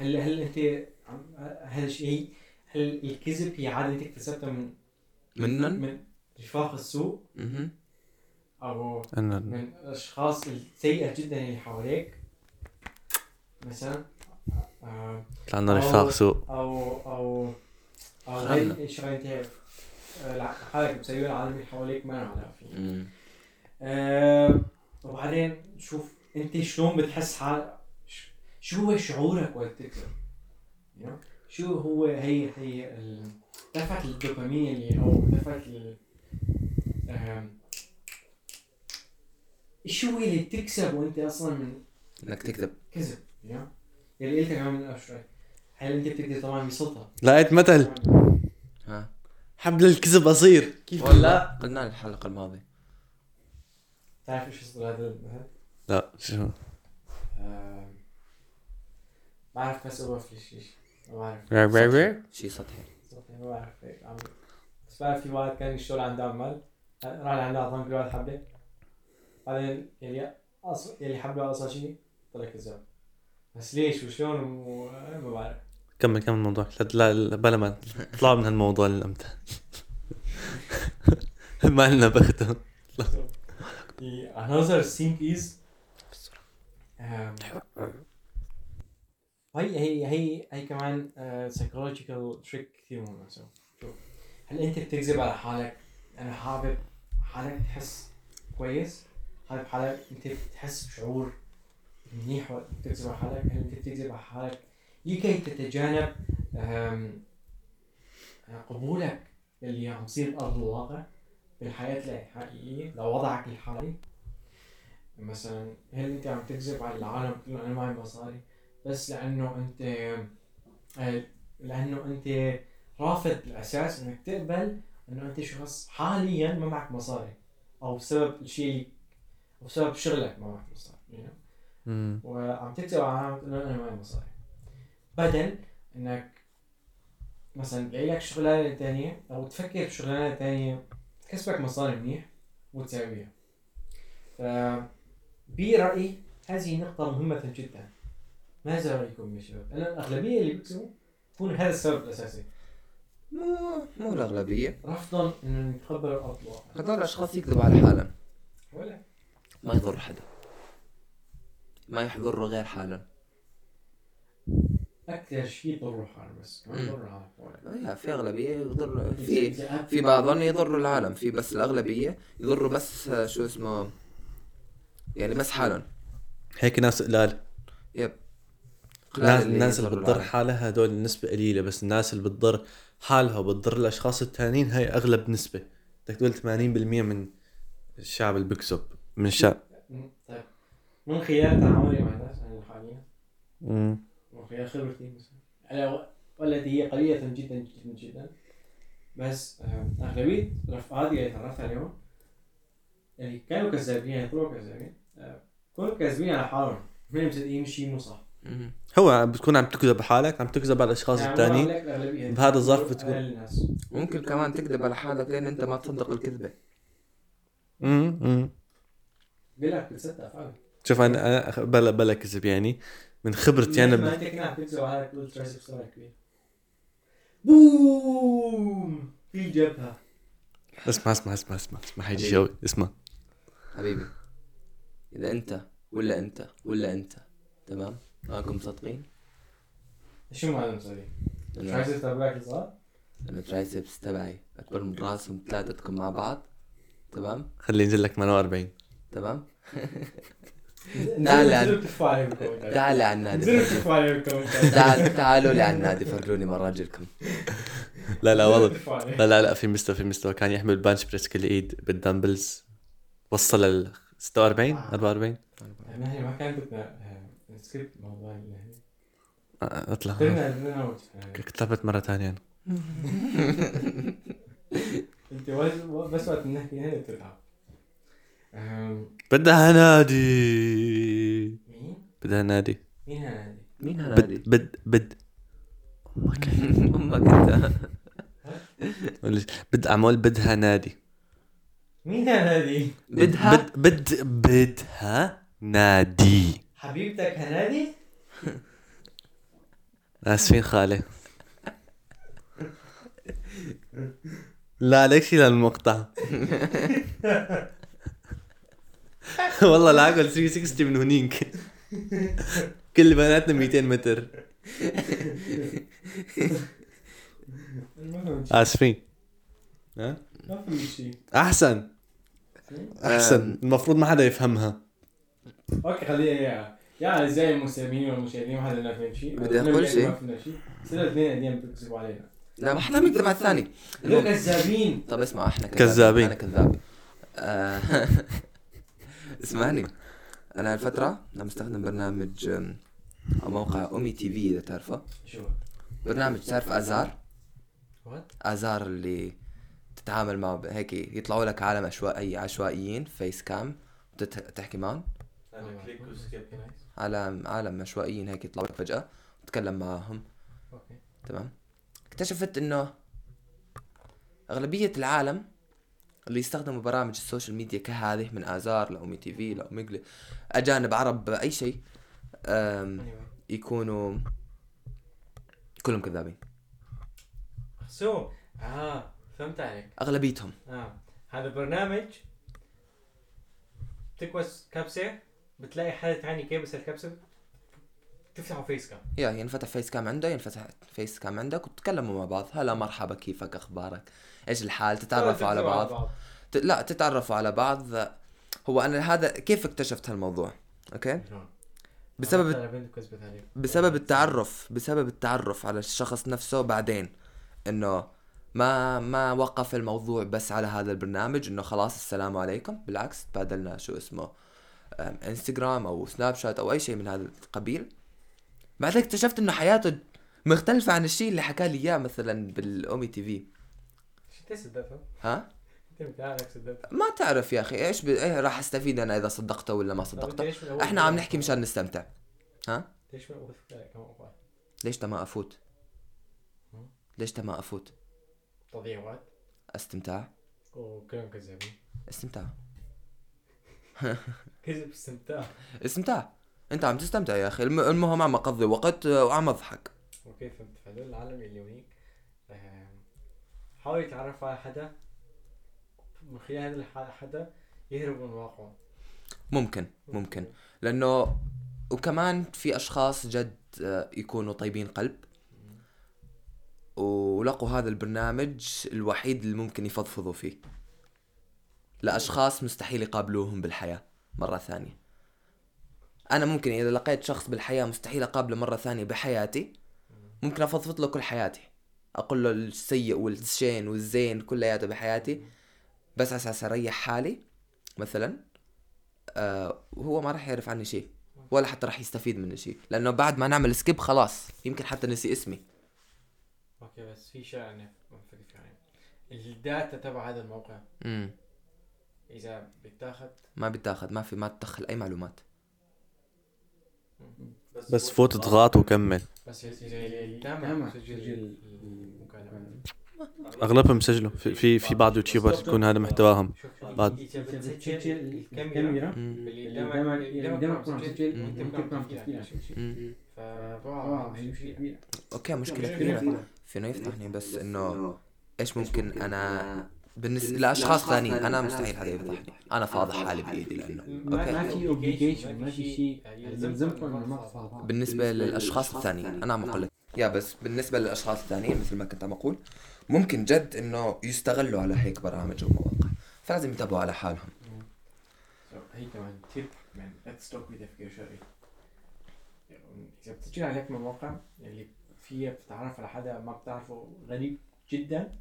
[SPEAKER 2] هل هل انت عم- هل شيء هل الكذب هي عاده انت اكتسبتها من
[SPEAKER 3] منن
[SPEAKER 2] من رفاق السوء
[SPEAKER 3] مهم.
[SPEAKER 2] او
[SPEAKER 1] انه
[SPEAKER 2] من الاشخاص السيئه جدا اللي حواليك مثلا آه،
[SPEAKER 1] طلعنا رفاق سوء
[SPEAKER 2] او او او
[SPEAKER 3] خلنا.
[SPEAKER 2] غير شغله انت آه، لا، حالك مسويه العالم اللي حواليك ما نعرف فيه
[SPEAKER 3] مم.
[SPEAKER 2] آه، وبعدين شوف انت شلون بتحس حالك ش- شو هو شعورك وقت تكتب you know؟ شو هو هي هي ال- دفعة الدوبامين اللي او دفعة ال آم، شو هو اللي بتكسب وانت اصلا من
[SPEAKER 3] انك تكذب
[SPEAKER 2] كذب you know؟ يعني يلي قلتها كمان من قبل شوي هل انت بتقدر طبعا بصوتها
[SPEAKER 1] لقيت مثل
[SPEAKER 3] ها
[SPEAKER 1] حبل الكذب قصير كيف
[SPEAKER 3] ولا قلنا الحلقه الماضيه
[SPEAKER 2] تعرف ايش يصدر هذا المثل؟
[SPEAKER 1] لا شو
[SPEAKER 2] آم، ما بعرف بس اوقف ليش ليش ما بعرف
[SPEAKER 3] شيء سطحي
[SPEAKER 2] صوتي ما بعرف هيك عم بس بعرف في واحد كان يشتغل عند عمال راح لعند عطان كل واحد حبه بعدين يلي أص... يلي حبه اصلا شيء طلع كذاب بس ليش وشلون و... ما بعرف
[SPEAKER 1] كمل كمل الموضوع لا- لا لا- بلا ما اطلعوا من هالموضوع للامتى ما لنا بختم
[SPEAKER 2] The another thing is um, هي هي هي هي كمان uh, psychological trick كثير مهمة so, شوف هل انت بتكذب على حالك انا حابب حالك تحس كويس حابب حالك انت بتحس بشعور منيح وقت بتكذب على حالك هل انت بتكذب على حالك لكي تتجنب um, قبولك اللي عم يصير ارض الواقع بالحياة الحقيقية لو وضعك الحالي مثلا هل انت عم تكذب على العالم كله انا معي مصاري بس لانه انت آه، لانه انت رافض الاساس انك تقبل انه انت شخص حاليا ما معك مصاري او بسبب الشيء اللي او بسبب شغلك ما معك مصاري you know?
[SPEAKER 1] مم.
[SPEAKER 2] وعم تكتب على العالم تقول لهم انا معي مصاري بدل انك مثلا تلاقي لك شغلانه ثانيه او تفكر بشغلانه ثانيه تكسبك مصاري منيح وتساويها ف برايي هذه نقطه مهمه جدا ماذا رايكم يا شباب؟ انا الاغلبيه اللي بيكسبوا يكون هذا السبب الاساسي
[SPEAKER 3] مو مو الاغلبيه
[SPEAKER 2] رفضا انهم يتقبلوا الارض الواقع
[SPEAKER 3] هذول الاشخاص يكذبوا على حالهم
[SPEAKER 2] ولا
[SPEAKER 3] ما يضر حدا ما يحضروا غير حالهم
[SPEAKER 2] اكثر شيء ضروا حالهم بس كمان
[SPEAKER 3] مم.
[SPEAKER 2] ضروا حالهم ولا.
[SPEAKER 3] آه، في اغلبيه يضر في
[SPEAKER 2] الذئاب
[SPEAKER 3] في بعضهم يضروا العالم في بس الأغلبية يضروا بس آه، شو اسمه يعني بس حالهم
[SPEAKER 1] هيك ناس قلال
[SPEAKER 3] يب
[SPEAKER 1] الناس
[SPEAKER 3] اللي
[SPEAKER 1] الناس اللي
[SPEAKER 3] يضروا
[SPEAKER 1] بتضر
[SPEAKER 3] العالم.
[SPEAKER 1] حالها هدول النسبة قليلة بس الناس اللي بتضر حالها وبتضر الأشخاص التانيين هاي أغلب نسبة بدك تقول 80% من الشعب اللي بيكسب من الشعب
[SPEAKER 2] مم. طيب من خلال تعاملي مع الناس انا حاليا
[SPEAKER 1] مم.
[SPEAKER 2] من خلال خبرتي مثلا انا و- والتي هي قليله جدا جدا جدا بس آم، اغلبيه رفقاتي اللي تعرفت عليهم اللي كانوا كذابين يعني طلعوا كذابين آه، كانوا كذابين على حالهم ما مصدقين شيء مو صح
[SPEAKER 3] مم.
[SPEAKER 1] هو عم بتكون عم تكذب حالك عم تكذب على الأشخاص
[SPEAKER 2] يعني عم
[SPEAKER 1] التانيين
[SPEAKER 2] بقول لك الأغلبية.
[SPEAKER 1] بهذا الظرف
[SPEAKER 2] أقل
[SPEAKER 1] بتكون-
[SPEAKER 2] الناس
[SPEAKER 3] ممكن كمان تكذب على حالك لأن أنت ما تصدق الكذبة
[SPEAKER 1] مم. مم.
[SPEAKER 2] بقول لك بتصدق فعلا
[SPEAKER 1] شوف أنا أنا بلا بلا كذب يعني من خبرتي أنا
[SPEAKER 2] يعني
[SPEAKER 1] ب...
[SPEAKER 2] ما انت كنا عم تكذب على هذا تقول ترسب صوره كبير بوم في الجبهه
[SPEAKER 1] اسمع اسمع اسمع اسمع اسمع هيجي شوي اسمع
[SPEAKER 3] حبيبي إذا أنت ولا أنت ولا أنت تمام معكم مصدقين
[SPEAKER 2] شو معنى مصاري؟ مش
[SPEAKER 3] أنا
[SPEAKER 2] عايز تتابعك صح؟
[SPEAKER 3] أنا الترايسبس تبعي أكبر من راسهم ثلاثتكم مع بعض تمام
[SPEAKER 1] خلي ينزل لك 48
[SPEAKER 3] تمام تعال
[SPEAKER 2] نزلوا كفوا عليهم الكومنتات.
[SPEAKER 3] تعالوا لعنادي
[SPEAKER 2] نزلوا كفوا عليهم الكومنتات.
[SPEAKER 3] تعال تعالوا لعنادي فرجوني مراجلكم
[SPEAKER 1] لا لا
[SPEAKER 2] نزلوا
[SPEAKER 1] والله
[SPEAKER 2] كفوا عليهم.
[SPEAKER 1] لا لا لا في مستوى في مستوى كان يحمل بانش بريس كل ايد بالدمبلز وصل ل 46 44
[SPEAKER 2] نحن ما كان بدنا سكريبت موضوع اللي
[SPEAKER 1] آه، اطلع
[SPEAKER 2] قلنا قلنا وجه.
[SPEAKER 1] كتبت مره ثانيه
[SPEAKER 2] انت وز- بس وقت بنحكي هنا بتلعب أم،
[SPEAKER 1] بدها نادي
[SPEAKER 2] مين؟
[SPEAKER 1] بدها نادي
[SPEAKER 2] مين هذا؟
[SPEAKER 3] مين هذا
[SPEAKER 1] بد بد بد أمك.
[SPEAKER 3] امك انت
[SPEAKER 1] قولي- بد اعمل بدها نادي
[SPEAKER 2] مين هنادي؟
[SPEAKER 3] بدها
[SPEAKER 1] بد بد بدها نادي
[SPEAKER 2] حبيبتك هنادي؟
[SPEAKER 1] اسفين خالي لا عليك شيل المقطع والله العقل 360 من هنيك كل بناتنا 200 متر
[SPEAKER 2] المهم
[SPEAKER 1] اسفين ها
[SPEAKER 2] ما في شيء
[SPEAKER 1] احسن احسن المفروض ما حدا يفهمها
[SPEAKER 2] اوكي خليها اياها يا اعزائي المستمعين والمشاهدين ما حدا لا فهم شيء
[SPEAKER 3] بدي
[SPEAKER 2] أنا
[SPEAKER 3] أقول
[SPEAKER 2] بلاقي
[SPEAKER 3] شيء.
[SPEAKER 2] ما فهمنا شيء صرنا اثنين قاعدين بيكذبوا علينا
[SPEAKER 3] لا ما احنا بنكذب على الثاني
[SPEAKER 2] يا كذابين
[SPEAKER 3] طب اسمع احنا
[SPEAKER 1] إيه. كذابين.
[SPEAKER 3] انا كذاب آه، اسمعني انا هالفترة انا مستخدم برنامج أم، او موقع امي تي في اذا تعرفه
[SPEAKER 2] شو
[SPEAKER 3] برنامج تعرف ازار
[SPEAKER 2] وات؟
[SPEAKER 3] ازار اللي تتعامل معه ب- هيك يطلعوا لك عالم عشوائي عشوائيين فيس كام وتحكي معهم عالم عالم عشوائيين هيك يطلعوا لك فجأة وتتكلم معاهم
[SPEAKER 2] اوكي
[SPEAKER 3] تمام اكتشفت انه اغلبية العالم اللي يستخدموا برامج السوشيال ميديا كهذه من ازار لامي تي في لامي اجانب عرب اي شيء أم،
[SPEAKER 2] Anyway.
[SPEAKER 3] يكونوا كلهم كذابين
[SPEAKER 2] سو اه فهمت عليك
[SPEAKER 3] اغلبيتهم
[SPEAKER 2] اه هذا برنامج تكبس كبسه بتلاقي حدا تاني كبس الكبسه تفتحه فيس كام
[SPEAKER 3] يا ينفتح فيس كام عنده ينفتح فيس كام عندك وتتكلموا مع بعض هلا مرحبا كيفك اخبارك ايش الحال تتعرفوا على بعض ت... لا تتعرفوا على بعض هو انا هذا كيف اكتشفت هالموضوع اوكي بسبب بسبب التعرف بسبب التعرف على الشخص نفسه بعدين انه ما ما وقف الموضوع بس على هذا البرنامج انه خلاص السلام عليكم بالعكس تبادلنا شو اسمه أم، انستغرام او سناب شات او اي شيء من هذا القبيل بعدين اكتشفت انه حياته مختلفة عن الشيء اللي حكى لي اياه مثلا بالامي تي في
[SPEAKER 2] شو تصدقها؟
[SPEAKER 3] ها
[SPEAKER 2] انت بتعرف صدقها
[SPEAKER 3] ما تعرف يا اخي ايش ب... إيه راح استفيد انا اذا صدقته ولا ما صدقته احنا عم نحكي مشان نستمتع
[SPEAKER 2] ليش ما وقفت عليك كمان وقت؟
[SPEAKER 3] ليش تا ما افوت ليش تا ما افوت
[SPEAKER 2] تضييع وقت
[SPEAKER 3] استمتاع
[SPEAKER 2] وكلهم كذابين
[SPEAKER 3] استمتاع
[SPEAKER 2] كذب استمتاع
[SPEAKER 3] استمتاع انت عم تستمتع يا اخي الم- المهم عم اقضي وقت آه، وعم اضحك
[SPEAKER 2] اوكي فهمت فهدول العالم اللي هونيك آم، حاول يتعرف على حدا من خلال هذا الح- حدا يهرب من واقعه
[SPEAKER 3] ممكن ممكن لانه وكمان في اشخاص جد آه، يكونوا طيبين قلب ولقوا هذا البرنامج الوحيد اللي ممكن يفضفضوا فيه لاشخاص مستحيل يقابلوهم بالحياه مره ثانيه انا ممكن اذا لقيت شخص بالحياه مستحيل اقابله مره ثانيه بحياتي ممكن افضفض له كل حياتي اقول له السيء والشين والزين كلياته بحياتي بس على اساس اريح حالي مثلا آه وهو ما راح يعرف عني شيء ولا حتى راح يستفيد مني شيء لانه بعد ما نعمل سكيب خلاص يمكن حتى نسي اسمي
[SPEAKER 2] اوكي بس في شيء انا ما بفكر فيه يعني الداتا تبع هذا الموقع
[SPEAKER 3] امم
[SPEAKER 2] اذا بتاخذ
[SPEAKER 3] ما بتاخذ ما في ما تدخل اي معلومات
[SPEAKER 1] بس فوت اضغط وكمل
[SPEAKER 2] بس اذا اللي تم تسجيل
[SPEAKER 4] آه.
[SPEAKER 2] المكالمه
[SPEAKER 1] اغلبهم سجلوا في في, في بعض اليوتيوبرز بتكون هذا محتواهم
[SPEAKER 2] شوف
[SPEAKER 1] بعد-
[SPEAKER 2] اذا بتسجل الكاميرا
[SPEAKER 3] امم
[SPEAKER 2] اللي قدامك اللي قدامك عم تسجل وانت بتعرف تحكي عن شيء
[SPEAKER 3] امم
[SPEAKER 4] Oh,
[SPEAKER 2] فطبعا مش كبيرة.
[SPEAKER 3] اوكي مشكله كبيره يعني في انه يفتحني بس انه ايش ممكن انا بالنسبه لاشخاص ثانيين انا مستحيل هذا يفضحني انا فاضح حالي بايدي لانه
[SPEAKER 4] ما
[SPEAKER 3] اوكي
[SPEAKER 4] في اوبليجيشن ما في شيء
[SPEAKER 2] آه،
[SPEAKER 4] يلزمكم انه ما تصاحبوا
[SPEAKER 3] بالنسبه للاشخاص الثانيين انا عم اقول لك يا بس بالنسبه للاشخاص الثانيين مثل ما كنت عم اقول ممكن جد انه يستغلوا على هيك برامج ومواقع فلازم يتابعوا على حالهم
[SPEAKER 2] هي كمان تيب من ليتس توك with a fiduciary اذا بتجي عليك من مواقع اللي فيها بتتعرف على حدا ما بتعرفه غريب جدا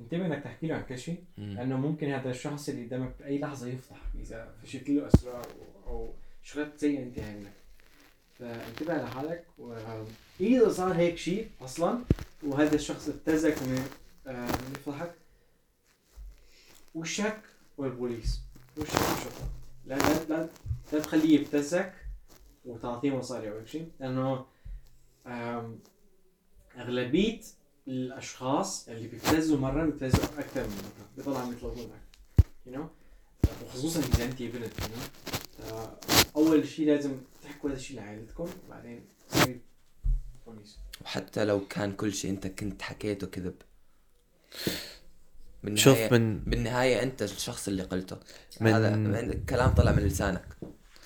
[SPEAKER 2] انتبه انك تحكي له عن كل شيء لانه ممكن هذا الشخص اللي قدامك باي لحظه يفضح اذا فشيت له اسرار او شغلات سيئه انتهى
[SPEAKER 4] يعني
[SPEAKER 2] منك فانتبه لحالك Um, واذا صار هيك شيء اصلا وهذا الشخص ابتزك من آه، من يفضحك وشك والبوليس وشك الشرطه لا لا لا, لا تخليه يبتزك وتعطيه مصاري او هيك شيء لانه آم، اغلبيه الاشخاص اللي بيبتزوا مره بيبتزوا اكثر من مره بيطلعوا عم يطلبونك يو نو وخصوصا اذا انت بنت يو نو اول شيء لازم تحكوا هذا الشيء لعائلتكم وبعدين تصير بوليس
[SPEAKER 3] وحتى لو كان كل شيء انت كنت حكيته كذب
[SPEAKER 1] شوف
[SPEAKER 3] بالنهاية-
[SPEAKER 1] من
[SPEAKER 3] بالنهاية انت الشخص اللي قلته
[SPEAKER 1] من-
[SPEAKER 3] هذا من الكلام طلع من لسانك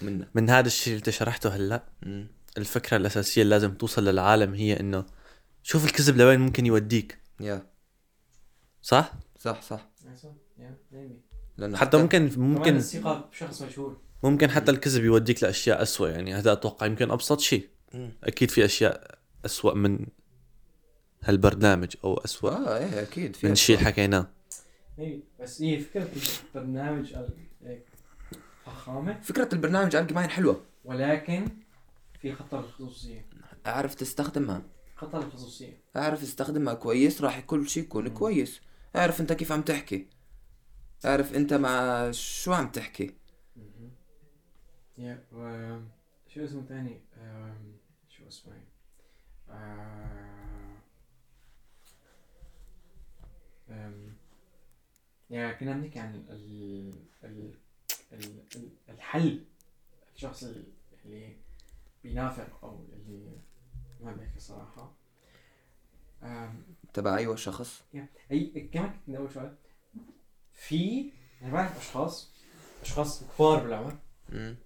[SPEAKER 3] منك
[SPEAKER 1] من هذا الشيء اللي انت شرحته هلا
[SPEAKER 3] مم.
[SPEAKER 1] الفكره الاساسيه اللي لازم توصل للعالم هي انه شوف الكذب لوين ممكن يوديك
[SPEAKER 3] يا
[SPEAKER 1] صح؟
[SPEAKER 3] صح صح
[SPEAKER 2] يا maybe.
[SPEAKER 3] لانه
[SPEAKER 1] حتى ممكن
[SPEAKER 2] كمان
[SPEAKER 1] ممكن
[SPEAKER 2] الثقه بشخص مجهول
[SPEAKER 1] ممكن حتى الكذب يوديك لاشياء اسوء يعني هذا اتوقع يمكن ابسط شيء
[SPEAKER 3] مم.
[SPEAKER 1] اكيد في اشياء اسوء من هالبرنامج او اسوء
[SPEAKER 3] اه ايه اكيد في
[SPEAKER 1] من شيء حكيناه
[SPEAKER 2] maybe. بس هي فكره البرنامج ال- إيه، هيك فخامه
[SPEAKER 3] فكرة البرنامج على الجماعين حلوة
[SPEAKER 2] ولكن في خطر الخصوصيه
[SPEAKER 3] اعرف تستخدمها
[SPEAKER 2] خطر الخصوصيه
[SPEAKER 3] اعرف استخدمها كويس راح كل شيء يكون كويس اعرف انت كيف عم تحكي اعرف انت مع شو عم تحكي
[SPEAKER 2] Mm-hmm. يا و شو اسمه تاني أم، شو اسمه uh, آه، أم، يا um, كنا بنحكي عن ال... ال... ال... ال... الحل الشخص اللي بينافق او اللي ما بيحكي صراحة أم،
[SPEAKER 3] تبع ايوه شخص
[SPEAKER 2] اي كمان كنت من اول شوية في انا بعرف اشخاص اشخاص كبار بالعمر
[SPEAKER 3] مم.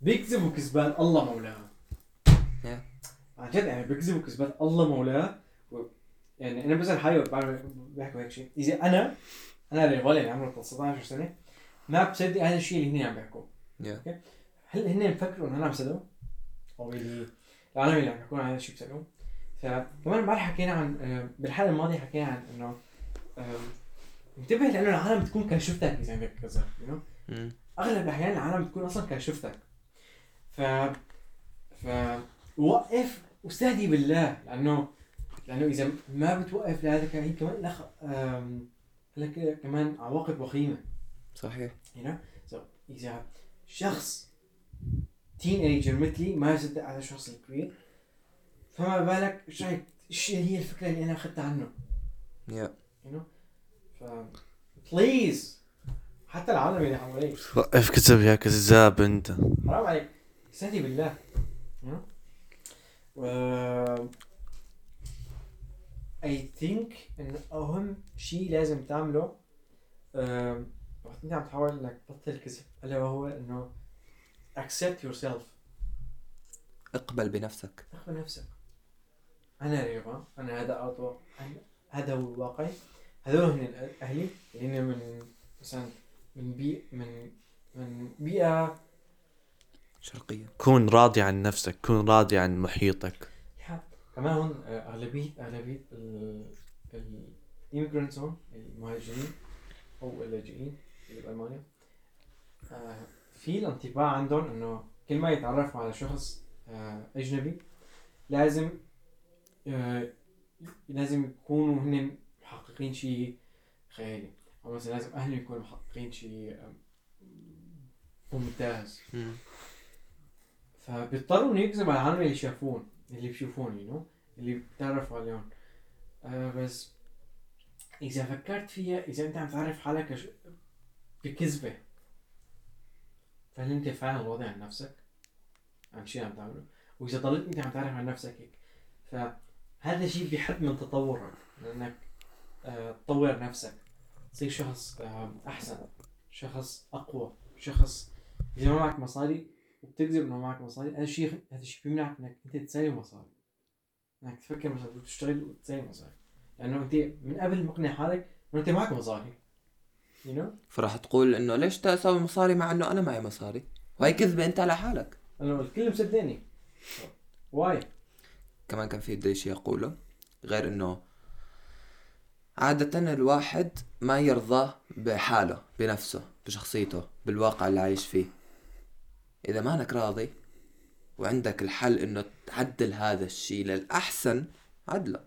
[SPEAKER 2] بيكذبوا كذبان الله مولاه
[SPEAKER 3] Yeah.
[SPEAKER 2] عن جد يعني بيكذبوا كذبان الله مولاه و... يعني انا بسال حالي بعرف- بحكوا هيك شيء اذا انا انا الرجال اللي عمره 19 سنه ما بصدق هذا الشيء اللي هن عم بيحكوه
[SPEAKER 3] Yeah.
[SPEAKER 2] أوكي؟ هل هن مفكروا انه انا عم صدقهم؟ او اللي العالم اللي عم يحكوا عن هذا الشيء بصدقهم فكمان امبارح حكينا عن آه، بالحلقه الماضيه حكينا عن انه آه، انتبه لانه العالم بتكون كشفتك اذا بدك كذا you know؟
[SPEAKER 3] مم.
[SPEAKER 2] اغلب الاحيان العالم بتكون اصلا كشفتك ف ف وقف واستهدي بالله لانه لانه اذا ما بتوقف لهذا كمان هي كمان لخ... أم... لك كمان عواقب وخيمه
[SPEAKER 3] صحيح
[SPEAKER 2] هنا so, اذا شخص تين ايجر مثلي ما يصدق على الشخص الكبير فما بالك ايش رايك ايش هي الفكره اللي انا اخذتها عنه
[SPEAKER 3] يا
[SPEAKER 2] ف بليز حتى العالم اللي حواليك
[SPEAKER 1] وقف كذب يا كذاب انت
[SPEAKER 2] حرام عليك استهدي بالله م? و اي ثينك انه اهم شيء لازم تعمله أم، وقت انت عم تحاول انك تبطل كذب الا وهو انه accept yourself
[SPEAKER 3] اقبل بنفسك
[SPEAKER 2] اخبر نفسك انا ريفا انا هذا اطوى أنا- هذا هو الواقع هذول هن الأ- اهلي اللي هن من مثلا من بيئة من من بيئة
[SPEAKER 3] شرقية
[SPEAKER 1] كون راضي عن نفسك كون راضي عن محيطك
[SPEAKER 2] يا، كمان هون آه، أغلبية أغلبية الإيميجرنتس هون المهاجرين أو اللاجئين اللي بألمانيا آه، في الانطباع عندهم إنه كل ما يتعرفوا على شخص آه، أجنبي لازم آه، لازم يكونوا هن محققين شيء خيالي أو مثلا لازم أهلهم يكونوا محققين شيء آه، ممتاز فبيضطروا انه يكذبوا على العالم اللي شافوه اللي بيشوفون يو نو اللي بتعرفوا عليهم آه بس اذا فكرت فيها اذا انت عم تعرف حالك كش- بكذبه فهل انت فعلا واضع عن نفسك؟ عن شيء عم تعمله؟ واذا ضليت انت عم تعرف عن نفسك هيك فهذا الشيء بيحد من تطورك لانك آه تطور نفسك تصير شخص آه احسن شخص اقوى شخص اذا ما معك مصاري وبتكذب انه معك مصاري هذا الشيء هذا الشيء بيمنعك انك انت تساوي مصاري انك تفكر مثلا بدك تشتغل وتساوي مصاري لانه انت من قبل مقنع حالك انه انت معك مصاري
[SPEAKER 4] يو نو
[SPEAKER 3] فراح تقول انه ليش تسوي مصاري مع انه انا معي مصاري وهي كذبه انت على حالك
[SPEAKER 4] انا الكل مصدقني واي
[SPEAKER 3] كمان كان في بدي شيء اقوله غير انه عادة الواحد ما يرضى بحاله بنفسه بشخصيته بالواقع اللي عايش فيه إذا ما أنك راضي وعندك الحل إنه تعدل هذا الشيء للأحسن عدله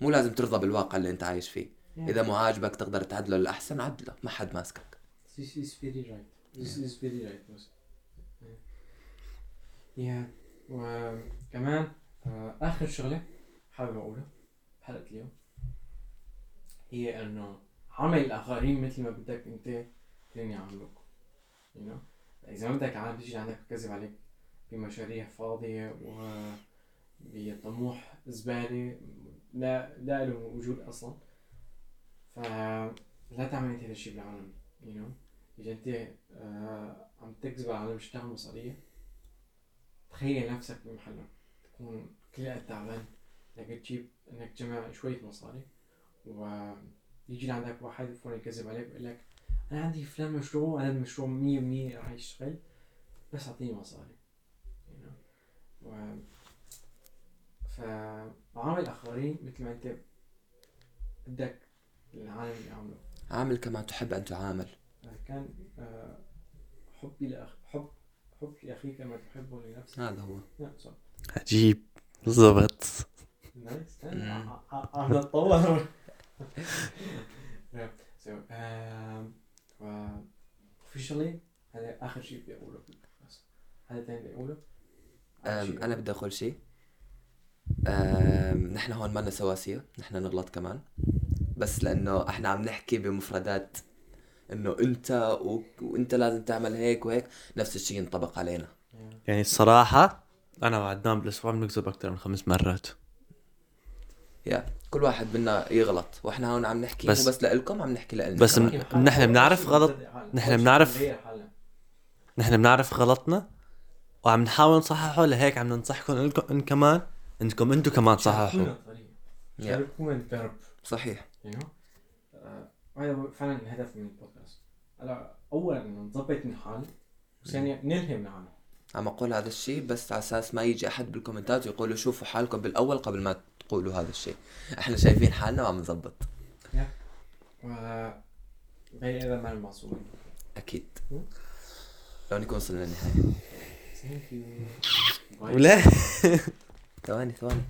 [SPEAKER 3] مو لازم ترضى بالواقع اللي أنت عايش فيه إذا مو عاجبك تقدر تعدله للأحسن عدله ما حد ماسكك
[SPEAKER 2] This is very right.
[SPEAKER 4] This is very right. Musa. Yeah. وكمان آه، آخر شغلة حابب أقولها بحلقة اليوم هي إنه عمل الآخرين مثل ما بدك أنت تاني يعاملوك you know? إذا ما بدك عالم تيجي عندك تكذب عليك بمشاريع فاضية و بطموح زبالة لا لا له وجود أصلا فلا تعمل أنت هذا الشيء بالعالم you know? إذا أنت آه، عم تكذب على العالم تشتغل مصارية تخيل نفسك بمحلهم تكون كل قد تعبان انك تجيب انك تجمع شوية مصاري ويجي لعندك واحد يكون يكذب عليك ويقول لك انا عندي فلان مشروع انا المشروع مية مية راح يشتغل بس اعطيني مصاري you know. و فعامل الاخرين مثل ما انت بدك العالم يعامله
[SPEAKER 3] عامل كما تحب أن تعامل
[SPEAKER 4] كان آه، حبي لأخ... حب حب لأخيك كما تحبه لنفسك
[SPEAKER 3] هذا هو
[SPEAKER 4] نعم صح
[SPEAKER 1] عجيب بالضبط
[SPEAKER 4] Nice. Then
[SPEAKER 3] Mm.
[SPEAKER 4] I, I, I'm not alone. yeah. So, um, uh, officially هذا آخر شيء بدي أقوله بس هذا تاني بدي أقوله آخر
[SPEAKER 1] Ehm,
[SPEAKER 3] أم،
[SPEAKER 4] شيء.
[SPEAKER 3] أنا بدي أقول شيء أم، نحن هون مالنا سواسية نحن نغلط كمان بس لأنه إحنا عم نحكي بمفردات إنه أنت و... وأنت لازم تعمل هيك وهيك نفس الشيء ينطبق علينا
[SPEAKER 4] Yeah.
[SPEAKER 1] يعني الصراحة أنا وعدنان بالأسبوع بنكذب أكثر من خمس مرات
[SPEAKER 3] يا كل واحد منا يغلط وإحنا هون عم نحكي
[SPEAKER 1] بس-
[SPEAKER 3] بس, بس لإلكم عم نحكي لإلنا
[SPEAKER 1] بس
[SPEAKER 3] كمان.
[SPEAKER 1] م- نحن بنعرف غلط نحن بنعرف- نحن بنعرف غلطنا وعم نحاول نصححه لهيك عم ننصحكم انكم ان كمان انكم انتم كمان تصححوا
[SPEAKER 3] يا،
[SPEAKER 4] شاركونا الدرب
[SPEAKER 3] صحيح
[SPEAKER 4] you know آه، هذا هو فعلا الهدف من البودكاست هلا اولا إنه نظبط من حالنا وثانيا نلهم من حالنا
[SPEAKER 3] عم أقول هذا الشيء بس على أساس ما يجي أحد بالكومنتات ويقولوا شوفوا حالكم بالأول قبل ما تقولوا هذا الشيء إحنا شايفين حالنا وعم نظبط
[SPEAKER 4] و بين هذا مع المعصومين
[SPEAKER 3] أكيد
[SPEAKER 4] مم.
[SPEAKER 3] لو نكون وصلنا للنهاية
[SPEAKER 4] Thank you.
[SPEAKER 1] ولا
[SPEAKER 3] ثواني ثواني